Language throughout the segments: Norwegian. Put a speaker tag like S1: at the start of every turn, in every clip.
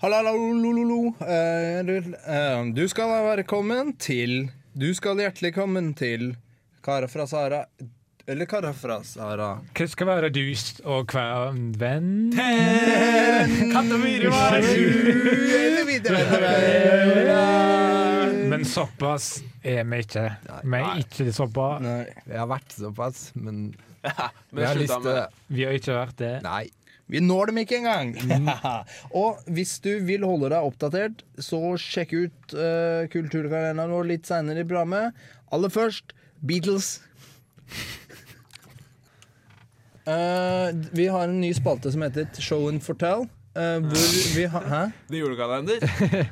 S1: Hallalolololo. Eh, du- eh, Du skal være velkommen til Du skal hjertelig kommen til Kara fra Sara Eller Kara fra Sara.
S2: Hva skal være dust og hva venn? Men såpass er vi ikke. Vi er ikke såpa.
S1: Nei.
S3: Vi har vært såpass, men vi
S4: Men
S3: har lyst
S4: slutta
S3: til
S4: med
S2: Vi har ikke vært det.
S3: Nei.
S1: Vi når dem ikke engang! og hvis du vil holde deg oppdatert, så sjekk ut uh, kulturkalenderen vår litt seinere i programmet. Aller først Beatles. Eh, vi har en ny spalte som heter Show and Fortell. eh, hvor vi har Hæ?
S4: Det er julekalender.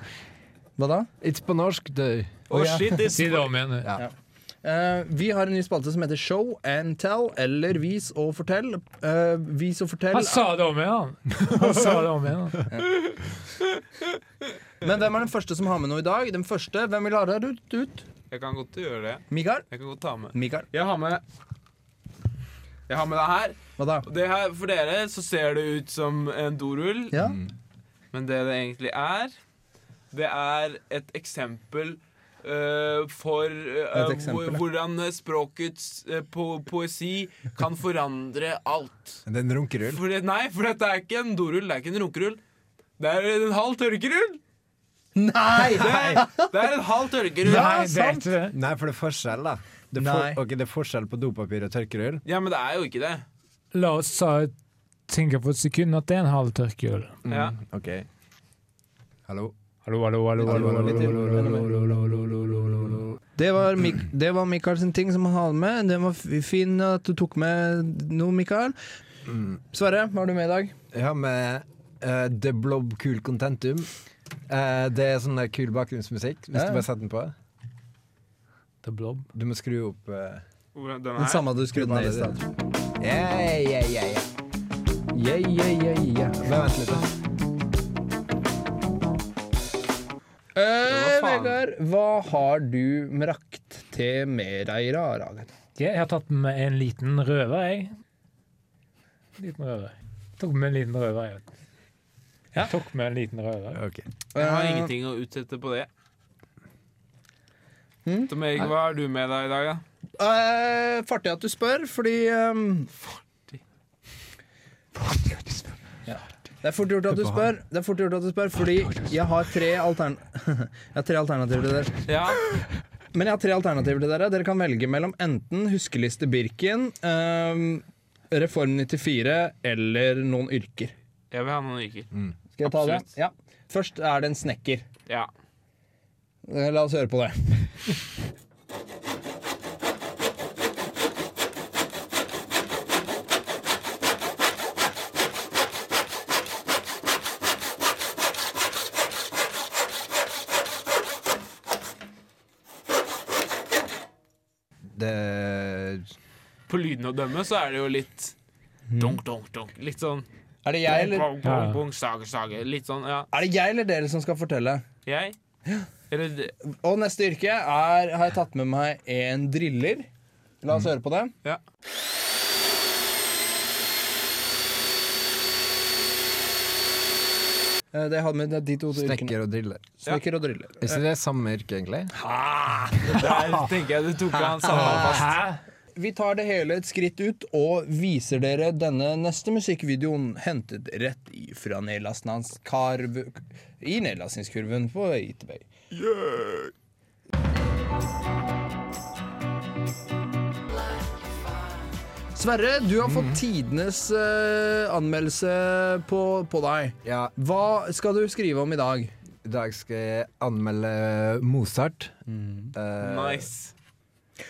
S1: Hva da?
S3: It's på norsk, du.
S4: Å, shit, det
S2: Si det om igjen.
S3: Ja.
S1: Eh, vi har en ny spalte som heter Show and Tell, eller Vis og fortell. Eh, vis og fortell
S2: Han sa det om igjen! Han sa det om igjen.
S1: Men hvem er den første som har med noe i dag? Den første, Hvem vil ha det ut? ut?
S4: Jeg kan godt gjøre det.
S1: Mikael?
S4: Jeg kan godt ta med.
S1: Mikael,
S4: Jeg har med Jeg har med det her.
S1: hva da?
S4: Og Det her. For dere så ser det ut som en dorull,
S1: Ja?
S4: men det det egentlig er, det er et eksempel øh, for øh,
S1: Et eksempel,
S4: hvor-
S1: ja.
S4: hvordan språkets øh, po poesi kan forandre alt.
S3: Den runkerull.
S4: For, det- nei, for dette er ikke en dorull, det er ikke en runkerull. Det er en halv tørkerull!
S1: Nei!
S4: Det er, det er en halv tørkerull.
S2: Nei,
S1: Ja,
S2: det er
S1: sant.
S2: ikke det.
S3: Nei, for det er forskjell, da. Det er,
S1: Nei.
S3: for, ok, det er forskjell på dopapir og tørkerull.
S4: Ja, men det er jo ikke det.
S2: La oss eh, tenke på et sekund at det er en halv tørkerull.
S4: Ja.
S3: Mm, OK. Hallo?
S2: Hallo, hallo, hallo, hallo, hallo, hallo, hallo, hallo, hallo, hallo, hallo, hallo.
S1: Det var, Mik det var Mikael sin ting som han hadde med. Det var f- fin at du tok med noe, Mikael.
S4: Mm.
S1: Sverre, hva har du med i dag?
S3: Jeg har med eh, The Blob Cool Contentum. Eh, det er sånn der kul bakgrunnsmusikk, hvis
S1: Ja.
S3: du bare setter den på.
S2: The blob.
S3: Du må skru opp eh,
S4: Hvordan- Den
S1: Den
S4: her.
S1: samme du skrudde ned i stad.
S3: Yeah, yeah, yeah, yeah. Yeah, yeah, yeah, yeah. Bare vent litt. da.
S1: Eh,
S4: Det var faen.
S1: Vegard, hva har du brakt til med deg i dag?
S2: Jeg har tatt med meg en liten røver, jeg. Liten røver. Tok med en liten røver, jeg. Ja. Tok med en liten røver.
S3: Ok.
S4: Jeg har
S1: Eh,
S4: ingenting å utsette på det.
S1: Hm?
S4: Tom Erik, hva har du med deg i dag, da?
S1: Eh, fartig at du spør, fordi ehm, Ja. Det er fort gjort at du spør, Det er fort gjort at du spør fordi jeg har tre, altern jeg har tre alternativer til dere.
S4: Ja,
S1: Men jeg har tre alternativer til dere. Dere kan velge mellom enten Huskeliste Birken, ehm, Reform 94 eller noen yrker.
S4: jeg vil ha noen ryker.
S1: Skal jeg ta det?
S4: Absolutt.
S1: Ja. Først er det en snekker.
S4: Ja.
S1: Eh, La oss høre på det.
S3: Det
S4: På lyden å dømme så er det jo litt dunk, dunk, dunk. Litt sånn
S1: Er det jeg eller,
S4: bong, bong, bong, sage, sage. Litt sånn, ja.
S1: er det jeg eller dere som skal fortelle?
S4: Jeg? Eller det-
S1: Og neste yrke er, har jeg tatt med meg en driller. La oss høre på det.
S4: Ja.
S1: Eh, Det jeg hadde med det er de to yrkene.
S3: Snekker og driller.
S1: Snekker og driller.
S3: Er ikke det samme yrke, egentlig?
S4: Der tenker jeg du tok han sammen fast.
S1: Vi tar det hele et skritt ut og viser dere denne neste musikkvideoen hentet rett fra Nedlastnans karv... I nedlastningskurven på Itebøy. Sverre, du har fått tidenes eh, anmeldelse på, på deg.
S3: Ja,
S1: Hva skal du skrive om i dag?
S3: i dag skal jeg anmelde Mozart. Eh,
S4: Nice.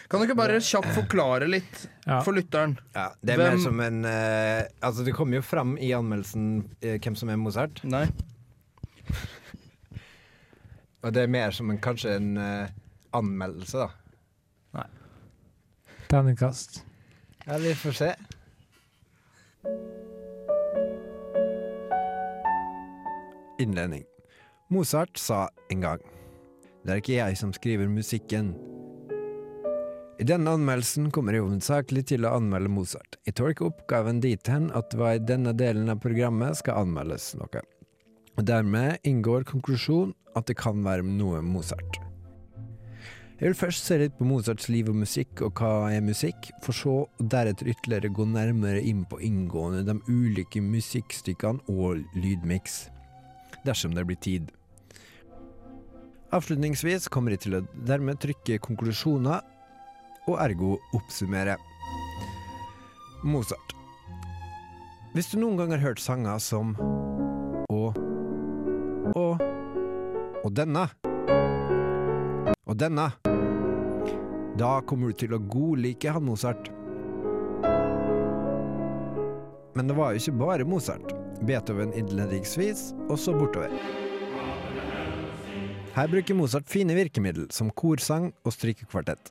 S1: Kan du ikke bare kjapt forklare litt
S2: Ja.
S1: for lytteren?
S3: ja, det er
S1: Hvem-
S3: mer som en eh, Altså, det kommer jo fram i anmeldelsen eh, hvem som er Mozart.
S1: Nei.
S3: Og det er mer som en, kanskje en eh, anmeldelse, da.
S2: Terningkast.
S3: Ja, vi får se. Innledning. Mozart sa en gang Det er ikke jeg som skriver musikken. I denne anmeldelsen kommer jeg hovedsakelig til å anmelde Mozart. Jeg tolker oppgaven dit hen at hva i denne delen av programmet skal anmeldes noe. og dermed inngår konklusjonen at det kan være noe Mozart. Jeg vil først se litt på Mozarts liv og musikk, og hva er musikk, for så å deretter ytterligere gå nærmere inn på inngående de ulike musikkstykkene og lydmiks, dersom det blir tid. Avslutningsvis kommer jeg til å dermed trykke konklusjoner, og ergo oppsummere. Mozart. Hvis du noen gang har hørt sanger som og og og denne og denne, da kommer du til å godlike han Mozart. Men det var jo ikke bare Mozart. Beethoven innledningsvis, og så bortover. Her bruker Mozart fine virkemiddel som korsang og strykekvartett.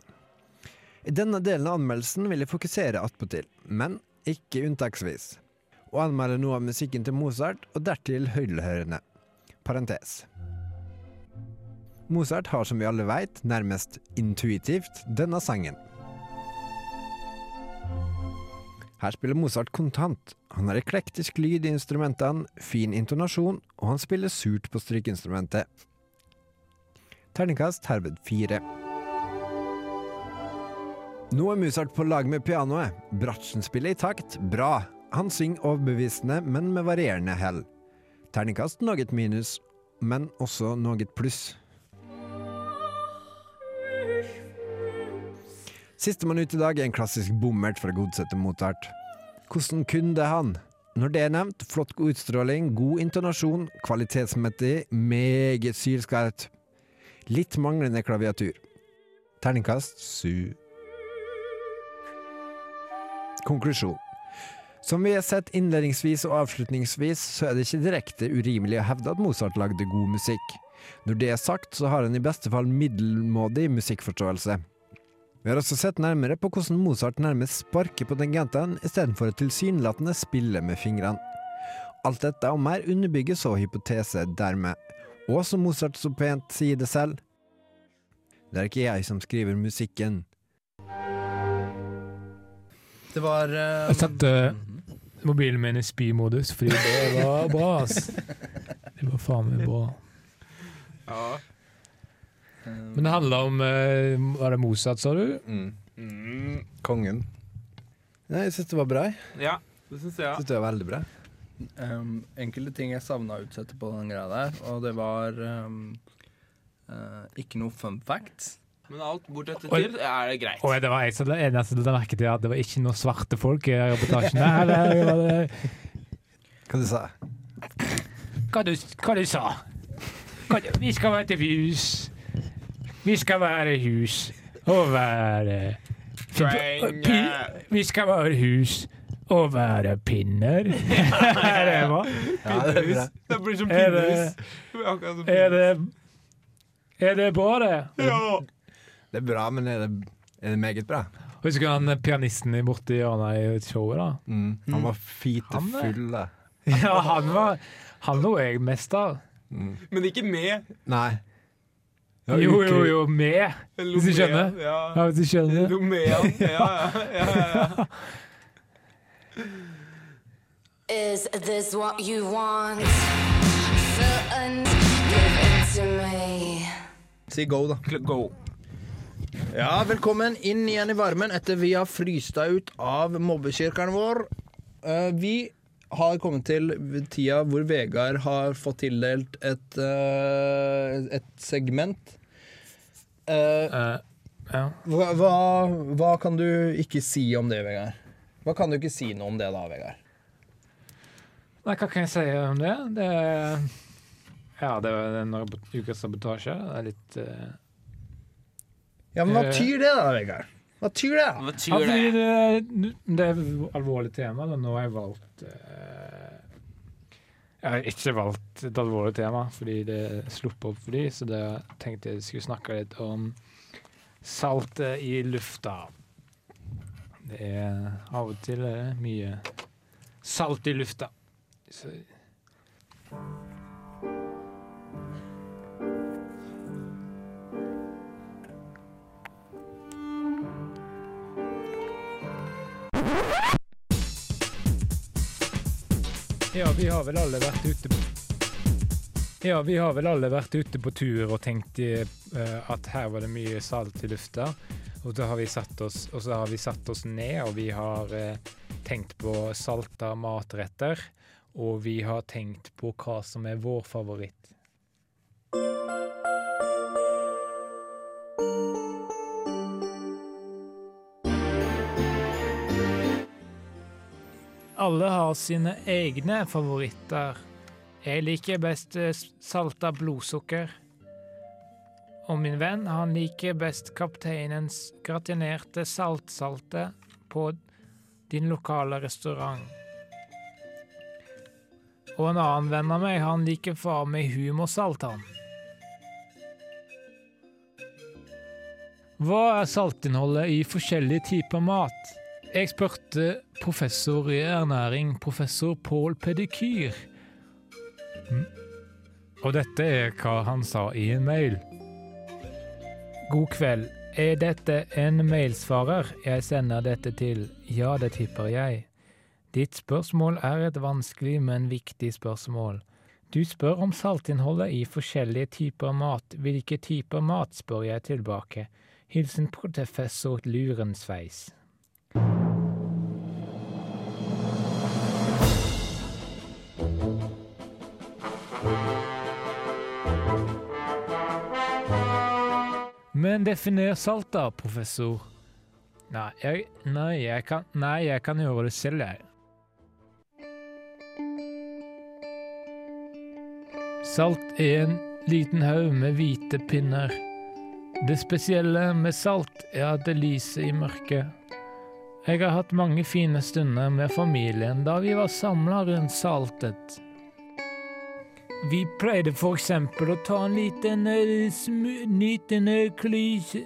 S3: I denne delen av anmeldelsen vil jeg fokusere attpåtil, men ikke unntaksvis. Og anmelde noe av musikken til Mozart, og dertil høydehørende. Parentes. Mozart har som vi alle veit, nærmest intuitivt denne sangen. Her spiller Mozart kontant. Han har eklektisk lyd i instrumentene, fin intonasjon, og han spiller surt på strykeinstrumentet. Terningkast herved fire. Nå er Mozart på lag med pianoet. Bratsjen spiller i takt, bra. Han synger overbevisende, men med varierende hell. Terningkast noe minus, men også noe pluss. Sistemann ut i dag er en klassisk bommert fra godsetet Mozart. Hvordan kunne det han? Når det er nevnt, flott utstråling, god intonasjon, kvalitetsmessig meget sylskarpt. Litt manglende klaviatur. Terningkast sju. Konklusjon. Som vi har sett innledningsvis og avslutningsvis, så er det ikke direkte urimelig å hevde at Mozart lagde god musikk. Når det er sagt, så har han i beste fall middelmådig musikkforståelse. Vi har også sett nærmere på hvordan Mozart nærmest sparker på tangentene istedenfor å tilsynelatende spille med fingrene. Alt dette og mer underbygger så hypotese dermed, og som Mozart så pent sier det selv, det er ikke jeg som skriver musikken.
S1: Det var eh,
S2: Jeg satte mobilen min i spy-modus, fordi det var bra, ass. Det var faen meg bra.
S4: Ja.
S2: Men det handler om eh, Var det Mozart, sa du?
S4: Mm.
S3: Kongen. Nei, jeg syns det var bra. Jeg
S4: ja. Det syns jeg.
S3: synes det var veldig bra.
S1: um, enkelte ting jeg savna å utsette på den greia der, og det var um, eh, ikke noe fun facts.
S4: Men alt bortsett til er det greit.
S2: Og det var jeg som la- eneste la merke til at det var ikke noen svarte folk i reportasjen. Nei, det var det.
S3: Hva du sa
S2: Hva du, hva du sa? Hva du, vi skal være til hus. Vi skal være hus og være
S4: Poeng,
S2: Pi-
S4: eh,
S2: Vi skal være hus og være pinner. er, det bra?
S4: Pinnehus. Det blir som
S2: Er det-
S4: pinnehus. Akkurat som
S2: er,
S4: pinnehus.
S2: det, er det bra, det?
S4: Ja.
S3: Det er bra, men er det, er det meget bra?
S2: Husker du han pianisten i borti hjørnet i showet, da?
S3: Mm. Han var fite
S2: Han er-
S3: full, da.
S2: Ja, han var Han lo jeg mest av.
S4: Men ikke med.
S3: Nei. Det var
S2: Jo,
S3: ukri-
S2: jo, jo, med. Hvis du skjønner. Ja,
S4: Ja.
S2: hvis du skjønner.
S4: Lomean. Ja, ja, ja, ja, ja.
S5: Is this what you want? Fill and give it to me.
S1: Si go, da.
S4: Kl- Go.
S1: Ja, velkommen inn igjen i varmen etter vi har fryst deg ut av mobbekirkeren vår. Eh, vi har kommet til tida hvor Vegard har fått tildelt et, eh, et segment. Eh,
S2: Eh, ja.
S1: hva, hva, hva kan du ikke si om det, Vegard? Hva kan du ikke si noe om det da, Vegard?
S2: Nei, hva kan jeg si om det? Det er Ja, det var en rab- ukas sabotasje. Det er litt eh,
S1: Ja, men hva tyr det da, Vegard? Hva tyr det? da?
S4: Hva
S2: ja,
S4: betyr
S2: fordi det,
S4: det?
S2: er- det er et alvorlig tema, da. Nå har jeg valgt eh, Jeg har ikke valgt et alvorlig tema, fordi det er sluppet opp for de, så det tenkte jeg skulle snakke litt om saltet i lufta. Det er av og til eh, mye salt i lufta. Så Ja, vi har vel alle vært ute Ja, vi har vel alle vært ute på tur og tenkt eh, at her var det mye salt i lufta. Og, da har vi satt oss, og så har vi satt oss ned, og vi har eh, tenkt på salta matretter. Og vi har tenkt på hva som er vår favoritt. Alle har sine egne favoritter. Jeg liker best eh, s- salta blodsukker. Og min venn, han liker best kapteinens gratinerte saltsalte på din lokale restaurant. Og en annen venn av meg, han liker far med humorsalt, han. Hva er saltinnholdet i forskjellige typer mat? Jeg spurte professor i ernæring, professor Pål Pedikyr, og dette er hva han sa i en mail. God kveld. Er dette en mailsvarer jeg sender dette til? Ja, det tipper jeg. Ditt spørsmål er et vanskelig, men viktig spørsmål. Du spør om saltinnholdet i forskjellige typer mat. Hvilke typer mat, spør jeg tilbake. Hilsen professor Lurensveis. Men definer salt da, professor. Nei, jeg, nei, jeg, kan, nei, jeg kan gjøre det selv, jeg. Salt er en liten haug med hvite pinner. Det spesielle med salt er at det lyser i mørket. Jeg har hatt mange fine stunder med familien da vi var samla rundt saltet. Vi pleide for eksempel å ta en liten eh, smu- liten eh, klyse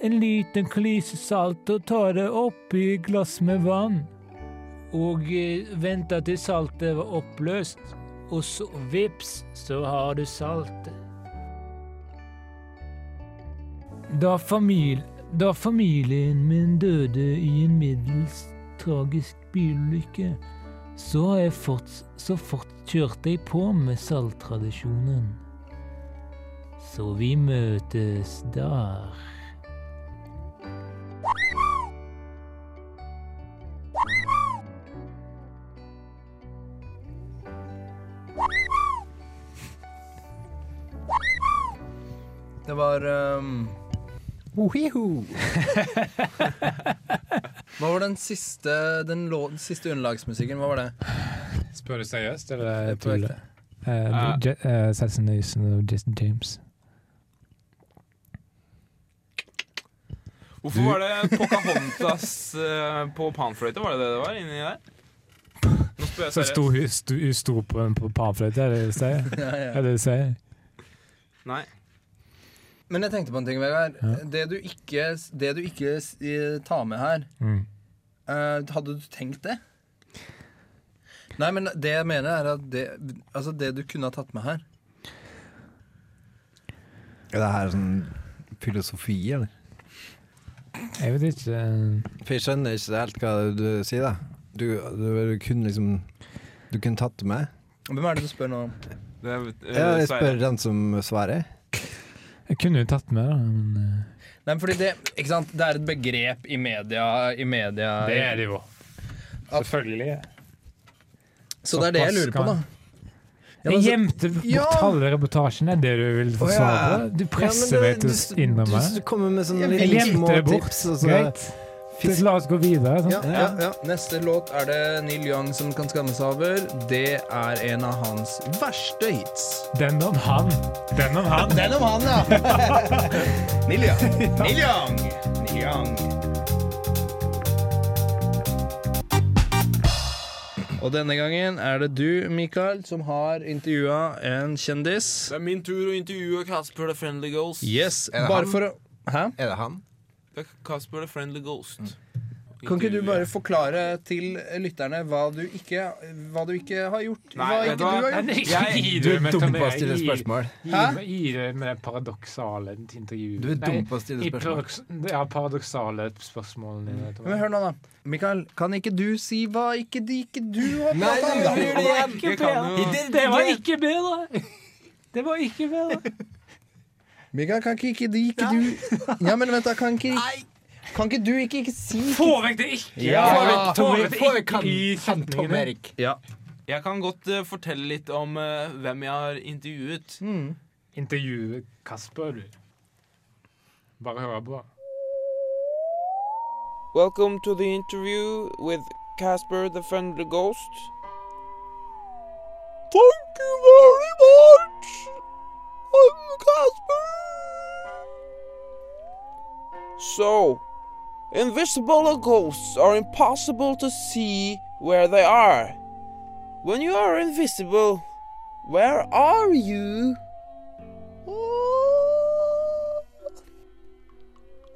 S2: en liten klyse salt og ta det oppi et glass med vann. Og eh, vente til saltet var oppløst. Og så vips, så har du saltet. Da, famil da familien min døde i en middels tragisk bilulykke så, har jeg forts- så fort kjørte jeg på med salttradisjonen. Så vi møtes der.
S1: Det var ehm, Hva var den siste Den, lå, den siste underlagsmusikken? Hva var det?
S2: Spør du seriøst, eller
S1: Jeg tror ikke det.
S2: Eh,
S4: Ja.
S2: Assassination of Jason James.
S4: Hvorfor var det Pocahontas eh, på panfløyte? Var det det det var inni der? Nå spør jeg
S2: Så
S4: seriøst.
S2: sto hun sto, hun sto på en på panfløyte, er det det du sier?
S1: Ja, ja.
S2: Er det det du sier?
S4: Nei.
S1: Men jeg tenkte på en ting, Vegard.
S2: Ja.
S1: Det du ikke, det du ikke s- i- tar med her,
S2: Mm.
S1: eh, hadde du tenkt det? Nei, men det jeg mener, er at det, altså det du kunne ha tatt med her
S3: Er det her sånn filosofi, eller?
S2: Jeg vet ikke. eh,
S3: For jeg skjønner ikke helt hva du sier, da. Du, du, du kunne liksom Du kunne tatt det med.
S1: Hvem er det du spør nå om?
S4: Det, eh,
S3: Ja, jeg
S4: Sverre.
S3: spør den som svarer.
S2: Jeg kunne jo tatt med, da, men eh,
S1: Nei, men fordi det, ikke sant? det er et begrep i media, i media
S2: det jo. Selvfølgelig.
S1: Så det er det jeg lurer på, da. Ja, men
S2: Jeg
S1: så-
S2: gjemte
S1: Ja!
S2: bort halve reportasjen, er det du vil få svar på? Du presser meg til å innrømme.
S3: Du kommer med sånne
S1: Jeg
S2: Jeg
S3: lille små
S2: gjemte det bort.
S3: tips, altså. og så
S2: Greit. Så La oss gå videre.
S1: Ja,
S2: Sant?
S1: ja, ja. Neste låt er det Neil Young som kan skamme seg over. Det er en av hans verste hits.
S2: Sånn, Den om han. Den om han.
S1: Den om han, ja! Neil Young. Neil Young. Neil Young. Og denne gangen er det du, Mikael, som har intervjua en kjendis.
S4: Det er min tur å intervjue Casper the Friendly Ghost.
S1: Yes,
S3: Er det
S1: bare
S3: han?
S1: for å Hæ?
S3: Er det han?
S4: Det er Casper the Friendly Ghost.
S1: Kan ikke du
S4: Intervjue.
S1: bare forklare til lytterne hva du ikke, hva du ikke har gjort?
S4: Nei,
S1: hva
S4: vet du
S1: ikke du
S4: hva?
S1: har gjort?
S2: Jeg- Gi
S4: Gi
S2: det
S3: Du er
S2: med-
S3: dum
S2: med-
S3: på å stille
S2: gi-
S3: spørsmål.
S2: gi-
S1: Hæ?
S2: Gi det med det paradoksale intervjuet.
S3: Du er
S2: Nei,
S3: dum på å stille
S2: i
S3: spørsmål.
S2: paradoks- Det er paradoksale spørsmålene dine. Tom.
S1: Men hør nå, da. Mikael, kan ikke du si hva ikke, de, ikke du har
S3: Nei,
S1: prata om?
S3: det
S1: da?
S3: blir det igjen.
S4: Jeg kan jo
S2: Det var ikke bedre! Det var ikke vel
S1: Mikael, kan ikke, ikke, de- ikke du Ja, men vent, da. Kan ikke, kan ikke du ikke, ikke si
S2: Få vekk det ikke!
S1: Ja!
S6: Få vekk Tom-
S2: Få vekk
S6: få vekk
S2: i
S6: han- Tom
S2: setningene.
S6: Erik.
S1: Ja.
S4: Jeg kan godt eh, fortelle litt om eh, hvem jeg har intervjuet.
S1: Mm.
S2: Intervjue Kasper, du. Bare hør på.
S7: Welcome to the interview with Casper the Friendly Ghost. Thank you very much! I'm Casper! So, invisible ghosts are impossible to see where they are. When you are invisible, where are you? Uh,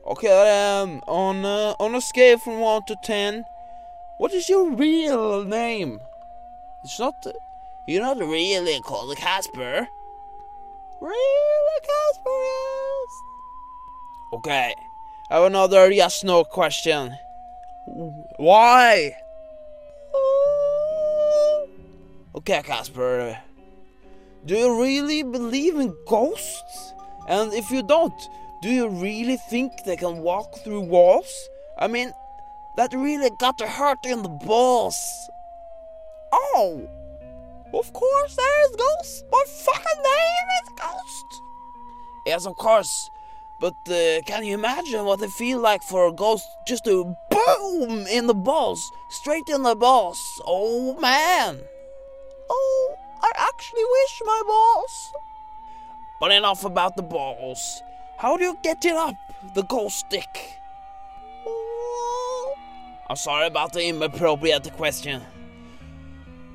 S7: Okay, um, on uh, on a scale from one to ten, what is your real name? It's not. You're not really called Casper. Really, Casper is. Okay, I have another yes/no question. Why? Okay, Casper. Do you really believe in ghosts? And if you don't, do you really think they can walk through walls? I mean, that really got to hurt in the balls. Oh! Of course there is Ghost! My fucking name is Ghost! Yes, of course. But uh, can you imagine what it feel like for a ghost just to boom in the balls? Straight in the balls. Oh man! Oh, I actually wish my balls but enough about the balls. How do you get it up? The goal stick. Oh. I'm sorry about the inappropriate question.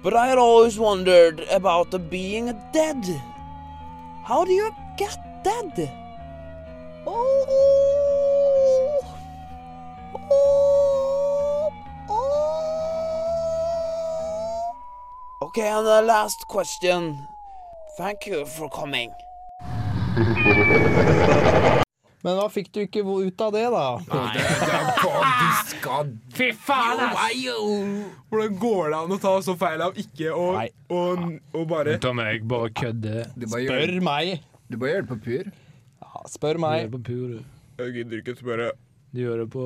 S7: But I had always wondered about the being dead. How do you get dead? Oh. Oh. Oh. Okay, and the last question. Thank you for coming.
S1: Men hva fikk du ikke ut av det, da?
S2: Fy faen, ass!
S6: Hvordan går det an å ta så feil av ikke å
S3: Nei.
S6: og, og bare
S2: Tom Erik bare kødder.
S6: Du bare
S1: Spør meg.
S6: du bare gjør det på pur.
S1: Ja, spør
S2: Du gjør
S1: meg.
S2: det på pur, du.
S6: Jeg gidder ikke spørre.
S2: Du gjør det på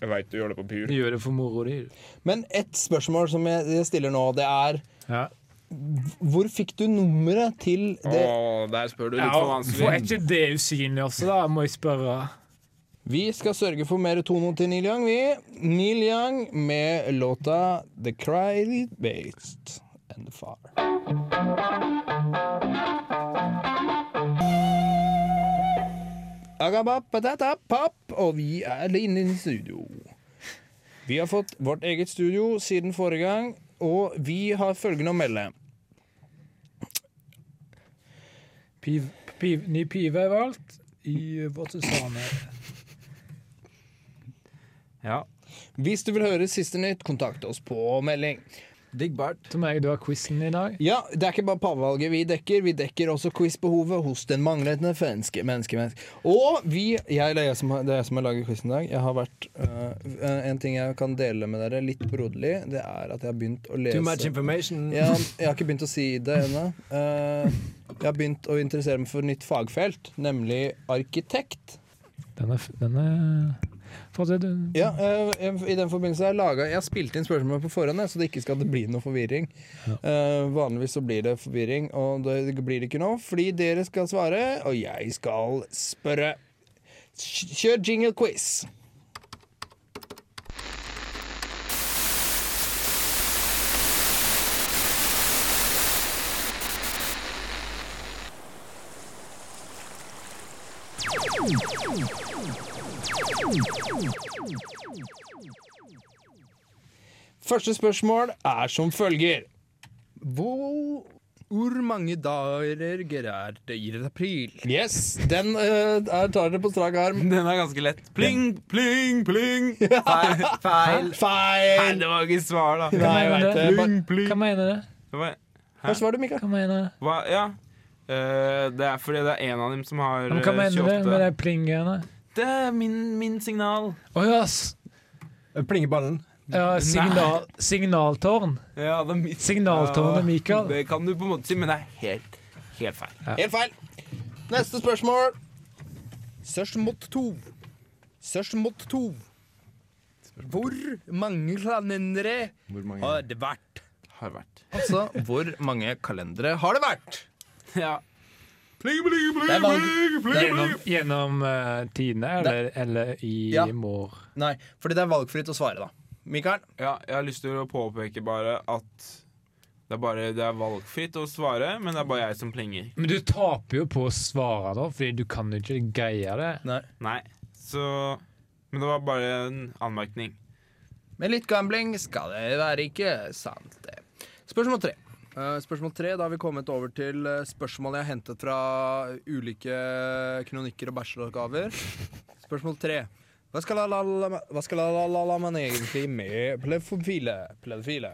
S6: Jeg veit du gjør det på pur.
S2: Du gjør det for moro di.
S1: Men et spørsmål som jeg jeg stiller nå, det er
S2: Ja.
S1: Hvor fikk du nummeret til det
S6: Å, der spør du litt
S2: Ja,
S6: for
S2: for er
S6: vanskelig.
S2: ikke det usynlig også, da, må jeg spørre?
S1: Vi skal sørge for mer tono til Neil Young, vi. Neil Young med låta The Cry Based and The Far. Agabapatapap, og vi er inne i studio. Vi har fått vårt eget studio siden forrige gang, og vi har følgende å melde.
S2: Piv, piv, ny pive er valgt i vårt sesame.
S4: Ja.
S1: Hvis du vil høre siste nytt, kontakt oss på melding.
S3: Digg bart.
S2: Tom Erik, du har quizen i dag.
S1: Ja, det er ikke bare pavevalget vi dekker. Vi dekker også quizbehovet hos den manglende menneske, menneske, menneske. Og vi jeg, Det er jeg som har, det er jeg som har laget quizen i dag. Jeg har vært, øh, øh, en ting jeg kan dele med dere litt broderlig, det er at jeg har begynt å lese
S3: Too much information.
S1: jeg, jeg har ikke begynt å si det ennå. Eh, jeg har begynt å interessere meg for et nytt fagfelt, nemlig arkitekt.
S2: Den er, f- den er Fortsett, du.
S1: Ja, eh, jeg- I den forbindelse har jeg laget, Jeg har spilt inn spørsmål på forhånd, jeg, så det ikke skal bli noe forvirring. Eh, vanligvis så blir det forvirring, og det blir det ikke nå. Fordi dere skal svare, og jeg skal spørre. Kj- Kjør jingle quiz. Første spørsmål er som følger. Hvor, hvor mange dager er det i april? Yes, den eh, er- tar dere på strak arm.
S4: Den er ganske lett. Pling, pling, pling!
S6: Feil. feil.
S4: Nei,
S1: Feil!
S4: det var ikke svar, da.
S1: Nei, jeg vet det. Bare-
S2: Hva mener du?
S4: Det var,
S1: Hva svarer du, Mikael?
S2: Hva mener du?
S4: hva, ja. Eh, det er fordi det er en av dem som har
S2: Men
S4: eh,
S2: Hva mener du med
S4: 28.
S2: de plingene?
S4: Det er min, min signal.
S2: Å ja, s-
S3: Plingeballen.
S2: ja, signal, signaltårn.
S4: Ja, det er mitt
S2: Signaltårnet,
S4: Ja,
S2: Mikael.
S4: Det kan du på en måte si, men det er helt, Helt feil.
S1: Helt feil. Neste spørsmål. Sørs mot to. Sørs mot to. Hvor mange kalendere
S3: Hvor mange?
S1: har det vært?
S4: Har vært.
S1: Altså, hvor mange kalendere har det vært?
S4: Ja.
S1: Det er valg... det er...
S8: Gjennom, gjennom eh, tidene, eller, eller i
S1: Ja.
S8: mor?
S1: Nei, fordi det er valgfritt å svare, da. Mikael?
S4: ja, jeg har lyst til å påpeke bare at det er, bare, det er valgfritt å svare, men det er bare jeg som plinger.
S8: Men du taper jo på å svare, da, fordi du kan jo ikke greie det.
S1: Nei.
S4: Nei, så Men det var bare en anmerkning.
S1: Med litt gambling skal det være ikke sant, det. Spørsmål tre. Eh, spørsmål tre, Da har vi kommet over til eh, spørsmål jeg har hentet fra ulike kronikker og bacheloroppgaver. Spørsmål tre. Hva skal la-la-la- hva skal la-la-la man egentlig med plefofile? Plefofile?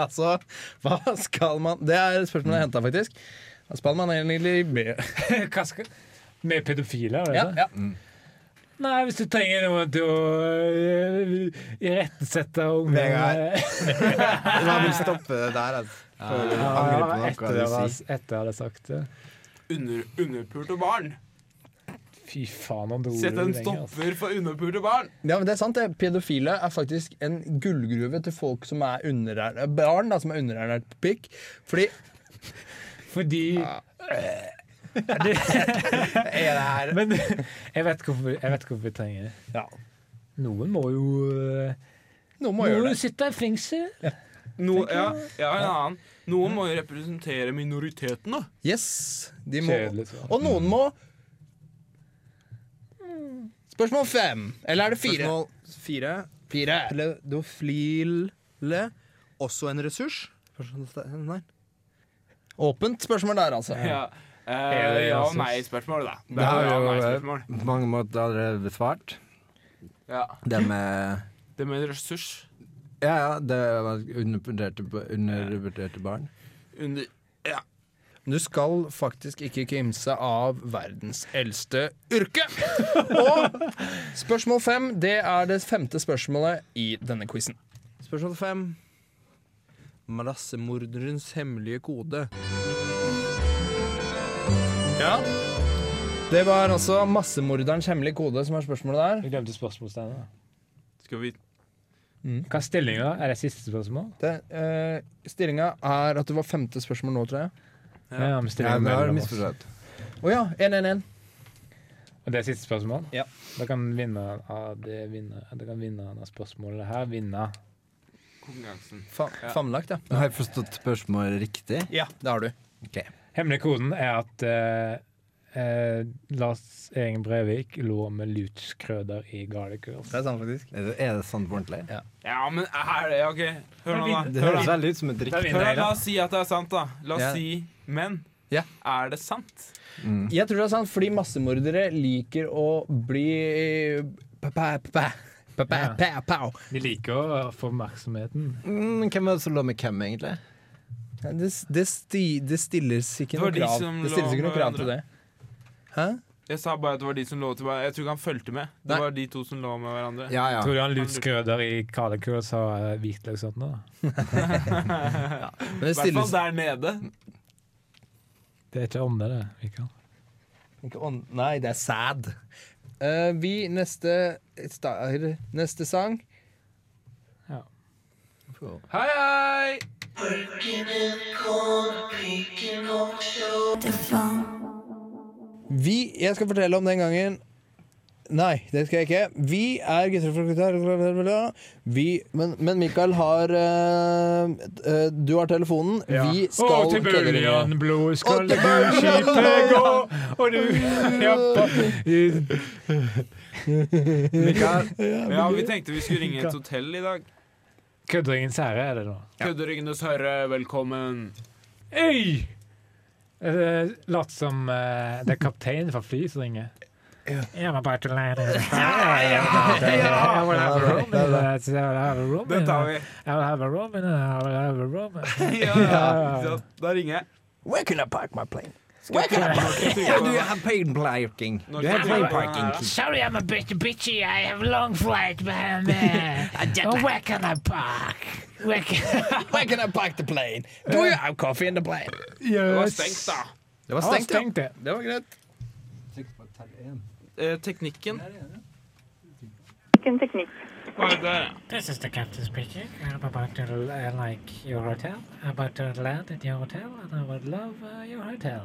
S1: Altså, hva skal man Det er et spørsmål jeg henta, faktisk. Hva skal man egentlig med
S8: Eh, Hva skal Med pedofile, er det
S1: ja,
S8: det?
S1: ja.
S8: Nei, hvis du trenger noen til å eh, irettesette unge
S3: Vegard. Jeg vil stoppe det der, altså. Før du angrer på
S8: Ja,
S3: noe
S8: etter det
S3: du sier.
S8: var- etter jeg hadde sagt det.
S4: Under, underpulte barn!
S8: Fy faen, om det ordet
S4: Sett
S8: du
S4: en
S8: trenger, altså.
S4: stopper for underpulte barn!
S1: Ja, men det er sant det. Pedofile er faktisk en gullgruve til folk som er underernært eh, barn da, som er underernært på pikk. Fordi
S8: Fordi
S1: er det her
S8: Men jeg vet hvorfor, jeg vet hvorfor vi trenger det.
S1: Ja.
S8: Noen må jo eh,
S1: Noen må
S8: Noen
S1: gjøre
S8: må jo
S1: det.
S8: sitte i fengsel.
S4: No, ja, ja, en annen. Noen må jo representere minoriteten, da.
S1: Yes, de må.
S8: Kjedelig svar.
S1: Og noen må Spørsmål fem. Eller er det fire? Spørsmål fire. fire. Pedofile også en ressurs? Spørsmål- Nei. Åpent spørsmål der, altså.
S4: Ja,
S8: Ja,
S4: eh,
S8: det er
S4: ja
S8: altså-
S4: og nei-spørsmål, da. Det
S3: Det
S4: er
S3: har
S4: jo ja, og
S3: jo
S4: nei-spørsmål.
S3: på mange måter allerede besvart.
S4: Ja.
S3: Det med
S4: Det med ressurs.
S3: Ja, ja, det var undervurderte, undervurderte barn.
S4: Under Ja.
S1: Du skal faktisk ikke kimse av verdens eldste yrke. Og spørsmål fem, det er det femte spørsmålet i denne quizen.
S9: Spørsmål fem. Massemorderens hemmelige kode.
S1: Ja. Det var altså massemorderens hemmelige kode som er spørsmålet der.
S8: Jeg glemte spørsmålstegnet. da.
S4: Skal vi
S8: Hva er stillinga? Er det siste spørsmål?
S1: Det, eh, Stillinga er at det var femte spørsmål nå, tror jeg.
S4: Ja.
S8: Ja, men
S3: Ja,
S8: stillingen
S3: det har
S8: mellom
S3: du
S8: oss.
S3: misforstått.
S1: Å ja, 1-1-1.
S8: Og det er siste spørsmål?
S1: Ja.
S8: Da kan vinneren av det, vinner, da kan vinneren av spørsmålet her vinne.
S4: konkurransen?
S1: Fa
S4: Ja.
S1: Famlagt, ja.
S3: Har jeg forstått spørsmålet riktig?
S1: Ja, det har du.
S8: Hemmelig koden er at eh, eh, Lars Egen Brevik lå med lutskrøder i Garlicus.
S1: Det er sant, faktisk.
S3: Er det, er det sant på ordentlig?
S4: Ja, men er det OK. Hør nå, da.
S3: Det
S4: Hør,
S3: høres
S4: da.
S3: veldig ut som et
S8: Da
S3: drikke.
S4: Hør,
S8: vinner
S4: da.
S8: jeg,
S4: La
S8: da.
S4: oss si at det er sant, da. La
S1: Ja.
S4: oss si Men
S1: Ja.
S4: er det sant?
S1: Jeg tror det er sant, fordi massemordere liker å bli eh,
S8: Ja.
S1: Pa-pa-pa-pa-pa-pa-pow.
S8: De liker å få oppmerksomheten.
S3: Mm, hvem var det som lå med hvem, egentlig?
S1: Ja, Det, det, sti, det stilles ikke
S4: Det
S1: noe
S4: var de
S1: krav.
S4: som
S1: Det stilles
S4: lå
S1: ikke noe
S4: med
S1: krav til det. Hæ?
S4: Jeg sa bare at det var de som lå til hverandre. Jeg tror ikke han fulgte med. Det
S1: Nei.
S4: var de to som lå med hverandre.
S3: Ja, ja.
S8: Tror du han lutskrøder i Garlicus har eh, hvitløk sånn nå?
S1: Men det
S4: I hvert fall
S1: stilles
S4: der nede.
S8: Det er ikke ånde, det. Mikael.
S1: ikke ånd... Nei, det er sad. Eh, vi neste sta- Neste sang
S4: Hei, hei!
S1: Vi, jeg skal fortelle om den gangen Nei, det skal jeg ikke. Vi er gutter fra Qatar Vi men, men Mikael har eh, eh, Du har telefonen. Vi skal
S8: og til
S1: kødde litt.
S8: bøljan blå skal
S1: Og
S8: du
S1: til bøljan
S8: skipet gå, og du ja, på-
S3: Mikael,
S4: Ja, vi tenkte vi skulle ringe et hotell i dag.
S8: Kødderingens ære er det nå.
S4: Kødderingenes herre, velkommen.
S8: Øy! Eh, Lat som eh, det er kapteinen fra flyet som ringer. Jeg var bare til å lære deg. Jeg vil ha Robin. eh,
S4: Den tar vi.
S8: Jeg vil ha Robin. eh. Jeg vil ha Robin.
S4: Ja,
S8: Ja.
S4: Så Da ringer jeg.
S3: where can I park my plane?
S4: Skal jeg
S3: Yeah, do you have plane parking? Do
S4: Når
S3: you have
S4: skal
S3: plane
S4: du-
S3: parking?
S8: Sorry, I'm a bit bitchy. I have long flight behind me. oh, where can I park? Where can
S1: Where can I park the plane? Do you have coffee in the plane?
S4: Det var stengt, da.
S1: Det var
S8: Ja,
S1: stengt, ja.
S8: stengt det.
S1: Det var greit.
S4: Eh, teknikken
S10: Hvilken teknikk?
S4: Hva er det der?
S2: This is the captain speaking. I'm about to uh, like your hotel. I'm about to land at your hotel, and I would love uh, your hotel,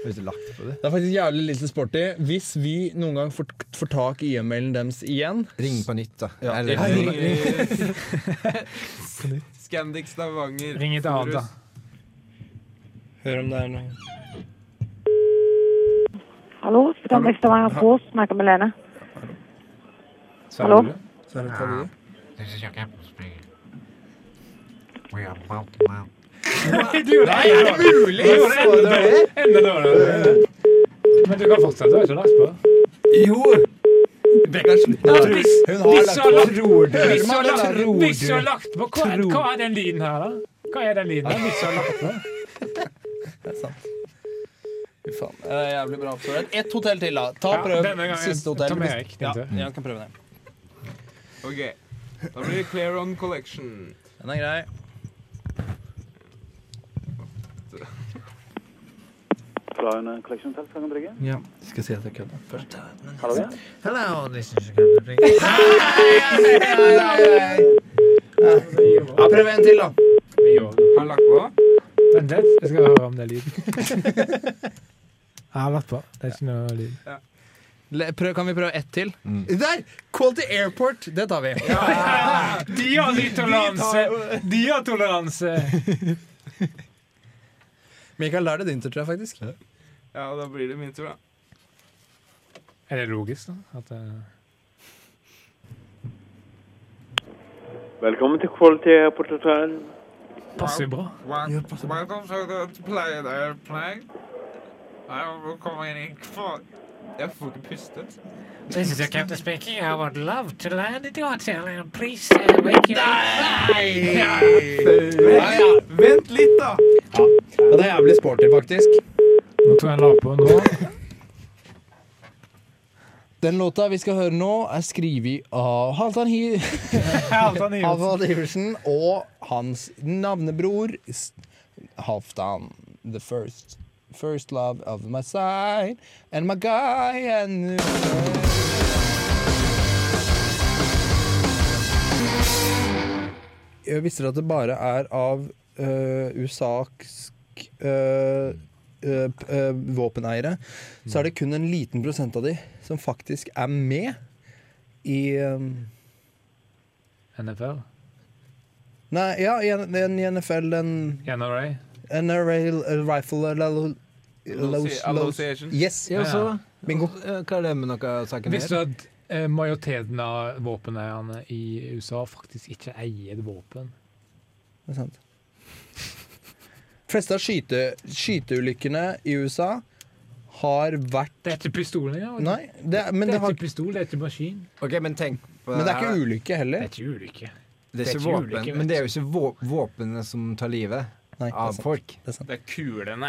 S3: Har ikke lagt på det.
S1: Det er faktisk jævlig lite sporty. Hvis vi noen gang får, får tak i e-mailen deres igjen
S3: Ring på nytt, da.
S1: Ja.
S3: Eller,
S4: Eh, Scandic Stavanger.
S8: Ring et annet, da.
S1: Hør om det er noe
S10: Hallo, Scandic Stavanger på, snakker med Lene.
S8: Hallo?
S1: Så er det hva det er.
S2: This is your captain speaking. We are about to land.
S8: Du gjorde det! Er det mulig? Du gjorde det enda dårligere. Enda dårligere. Men du kan fortsette. Du har ikke lagt på.
S3: Jo!
S8: Hvis-
S1: Hun har
S8: hvis
S1: lagt
S8: du har
S1: på.
S8: lagt- hvis du har
S1: Tror
S8: lagt-
S1: du?
S8: Hvis du har lagt på hva er, hva er den lyden her, da? Hva er den lyden her? Hvis du har lagt på?
S1: Fy faen. Det er jævlig bra. oppført. Ett hotell til, da. Ta
S8: Ja,
S1: prøv
S8: denne gangen.
S1: siste hotell.
S8: Tom Erik,
S1: ja,
S8: tenkte jeg.
S1: jeg kan prøve den.
S4: Ok. Da blir det Clear On Collection.
S1: Den er grei. Ja. Skal si at jeg kødder først.
S2: Hello, this is your captain speaking.
S1: Ja, prøv en til, da.
S8: Vi gjorde det.
S4: Har han lagt på?
S8: Men det, jeg skal høre om det er lyden. Jeg har lagt på. Det er ikke noe lyd.
S1: Le- Prøv, kan vi prøve ett til? Der! Quality Airport. Det tar vi.
S8: De har litt toleranse! De har toleranse!
S1: Mikael, da er det din tur, tror jeg faktisk.
S4: Ja, da blir det min tur, da.
S8: Er det logisk, da? At, eh,
S11: Velkommen til Quality Airport Hotel.
S8: passer jo bra.
S4: Welcome to the plane airplane. I will come in in for- Jeg får ikke puste.
S2: This is your captain speaking. I would love to land at your hotel, and please uh, wake you up.
S4: Vent litt, da!
S1: Ja, det er jævlig sporty, faktisk.
S8: Nå tror jeg han la på nå.
S1: Den låta vi skal høre nå, er skrevet av Halvdan Hi... altså,
S8: Halvdan Iversen.
S1: Halvdan Iversen og hans navnebror S- Halvdan. The first, first love of my side and my guy and Jeg visste at det bare er av uh, usaksk eh, eh, p- eh, våpeneiere, så er det kun en liten prosent av de som faktisk er med i eh,
S8: NFL.
S1: Nei, ja, i N- en i NFL, en
S8: NRA.
S1: NRA l- eh, rifle eller
S4: Association.
S1: Yes,
S3: Ja, så
S1: bingo.
S3: Hva er det med noe av saken
S8: Visste
S3: her?
S8: du at eh, majoriteten av våpeneierne i USA faktisk ikke eier et våpen?
S1: Det er sant. De fleste av skyte, skyteulykkene i USA har vært
S8: Det er ikke pistol engang. vet
S1: Nei, det, er- men, det
S8: du. Det er
S1: har,
S8: ikke pistol, det er ikke maskin.
S3: Ok, men tenk på
S1: men det er ikke
S3: her.
S1: ulykke
S8: Det
S1: heller.
S8: er ikke
S3: Det
S8: ulykke.
S3: er
S8: det er
S3: ikke
S8: ikke
S3: våpen,
S8: ulykke, vet
S3: men det er jo ikke vå- våpenet som tar livet
S1: Nei, det
S8: Ah,
S1: er
S3: av
S1: sant.
S3: folk.
S4: Det er kulene.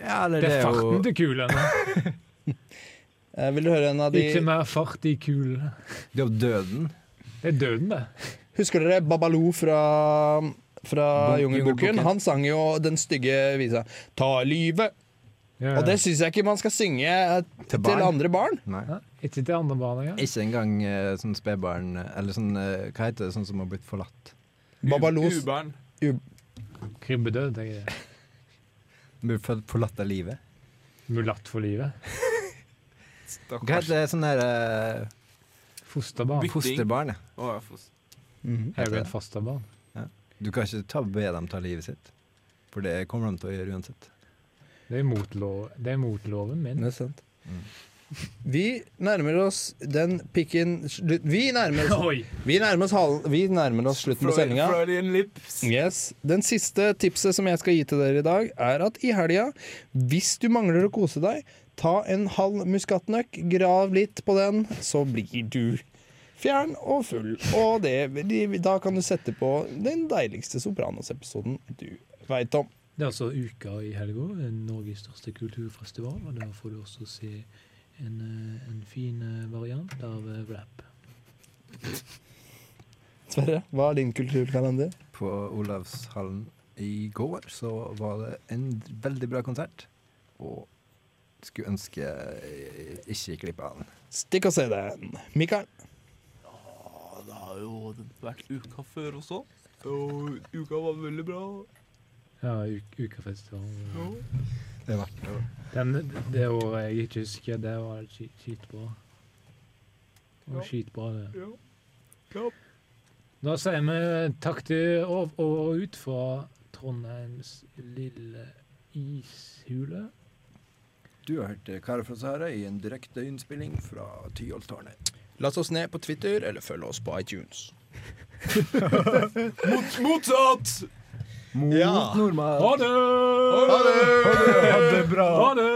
S3: Ja, eller
S8: Det er farten til kulene.
S1: Eh, vil du høre en av
S8: Ikke
S1: de
S8: mer fart i kulene.
S3: Det er jo døden.
S8: Det er døden, det.
S1: Husker dere Babaloo fra fra
S3: Bo-
S1: Jungelboken?
S3: Jungelboken.
S1: Han sang jo den stygge visa 'Ta livet'.
S8: Ja,
S1: Og det syns jeg ikke man skal synge eh,
S3: Til
S1: til
S3: barn.
S1: andre barn.
S3: Nei.
S8: ja. Ikke til andre barn engang.
S3: Ikke engang eh, sånn spedbarn eh, Eller sånn, eh, hva heter det, sånn som har blitt forlatt?
S1: Babalos
S4: Ubarn.
S8: Krybbedød, tenker jeg.
S3: Blitt for- forlatt av livet?
S8: Mulatt for livet.
S3: Hva
S4: Stakkars.
S3: heter det sånn her eh,
S8: Fosterbarn.
S4: Bytting.
S3: Fosterbarn, ja.
S4: Å, jeg får s-
S8: Er jo et fosterbarn.
S3: Du kan ikke ta, be dem ta livet sitt. For det kommer de til å gjøre uansett.
S8: Det er mot, lov, det er mot loven min.
S1: Det er sant. Vi nærmer oss den pikken slutt- Vi nærmer oss,
S8: Oi!
S1: vi nærmer oss, hal- vi nærmer oss slutten på
S4: Freud-
S1: sendinga.
S4: Freudian lips.
S1: Yes. Den siste tipset som jeg skal gi til dere i dag, er at i helga, hvis du mangler å kose deg, ta en halv muskatnøkk, grav litt på den, så blir du Fjern og full. Og det, de, da kan du sette på den deiligste Sopranos-episoden du veit om.
S2: Det er altså Uka i helga, Norges største kulturfestival. og Der får du også se en, eh, en fin eh, variant av eh, rap.
S1: Sverre, hva er din kulturkalender?
S3: På Olavshallen i går så var det en veldig bra konsert. Og skulle ønske jeg ikke klippa den.
S1: Stikk og se den. Mikael?
S4: Ja, det har jo vært uka før også. Og uka var veldig bra.
S2: Ja, uk Ukafestivalen.
S3: Det er verdt det.
S8: Den, det året jeg ikke husker, det var ski- skitbra. Det var skitbra, det.
S4: Ja. Ja.
S8: Da sier vi takk til og, og, og ut fra Trondheims lille ishule.
S3: Du har hørt Kara fra Sahara i en direkte innspilling fra Tyholttårnet.
S1: Last oss ned på Twitter, eller følg oss på iTunes.
S4: Motsatt!
S3: Mot
S1: Ja.
S3: nordmann.
S8: Ha det!
S4: Ha det!
S3: Ha det bra.
S8: Ha det!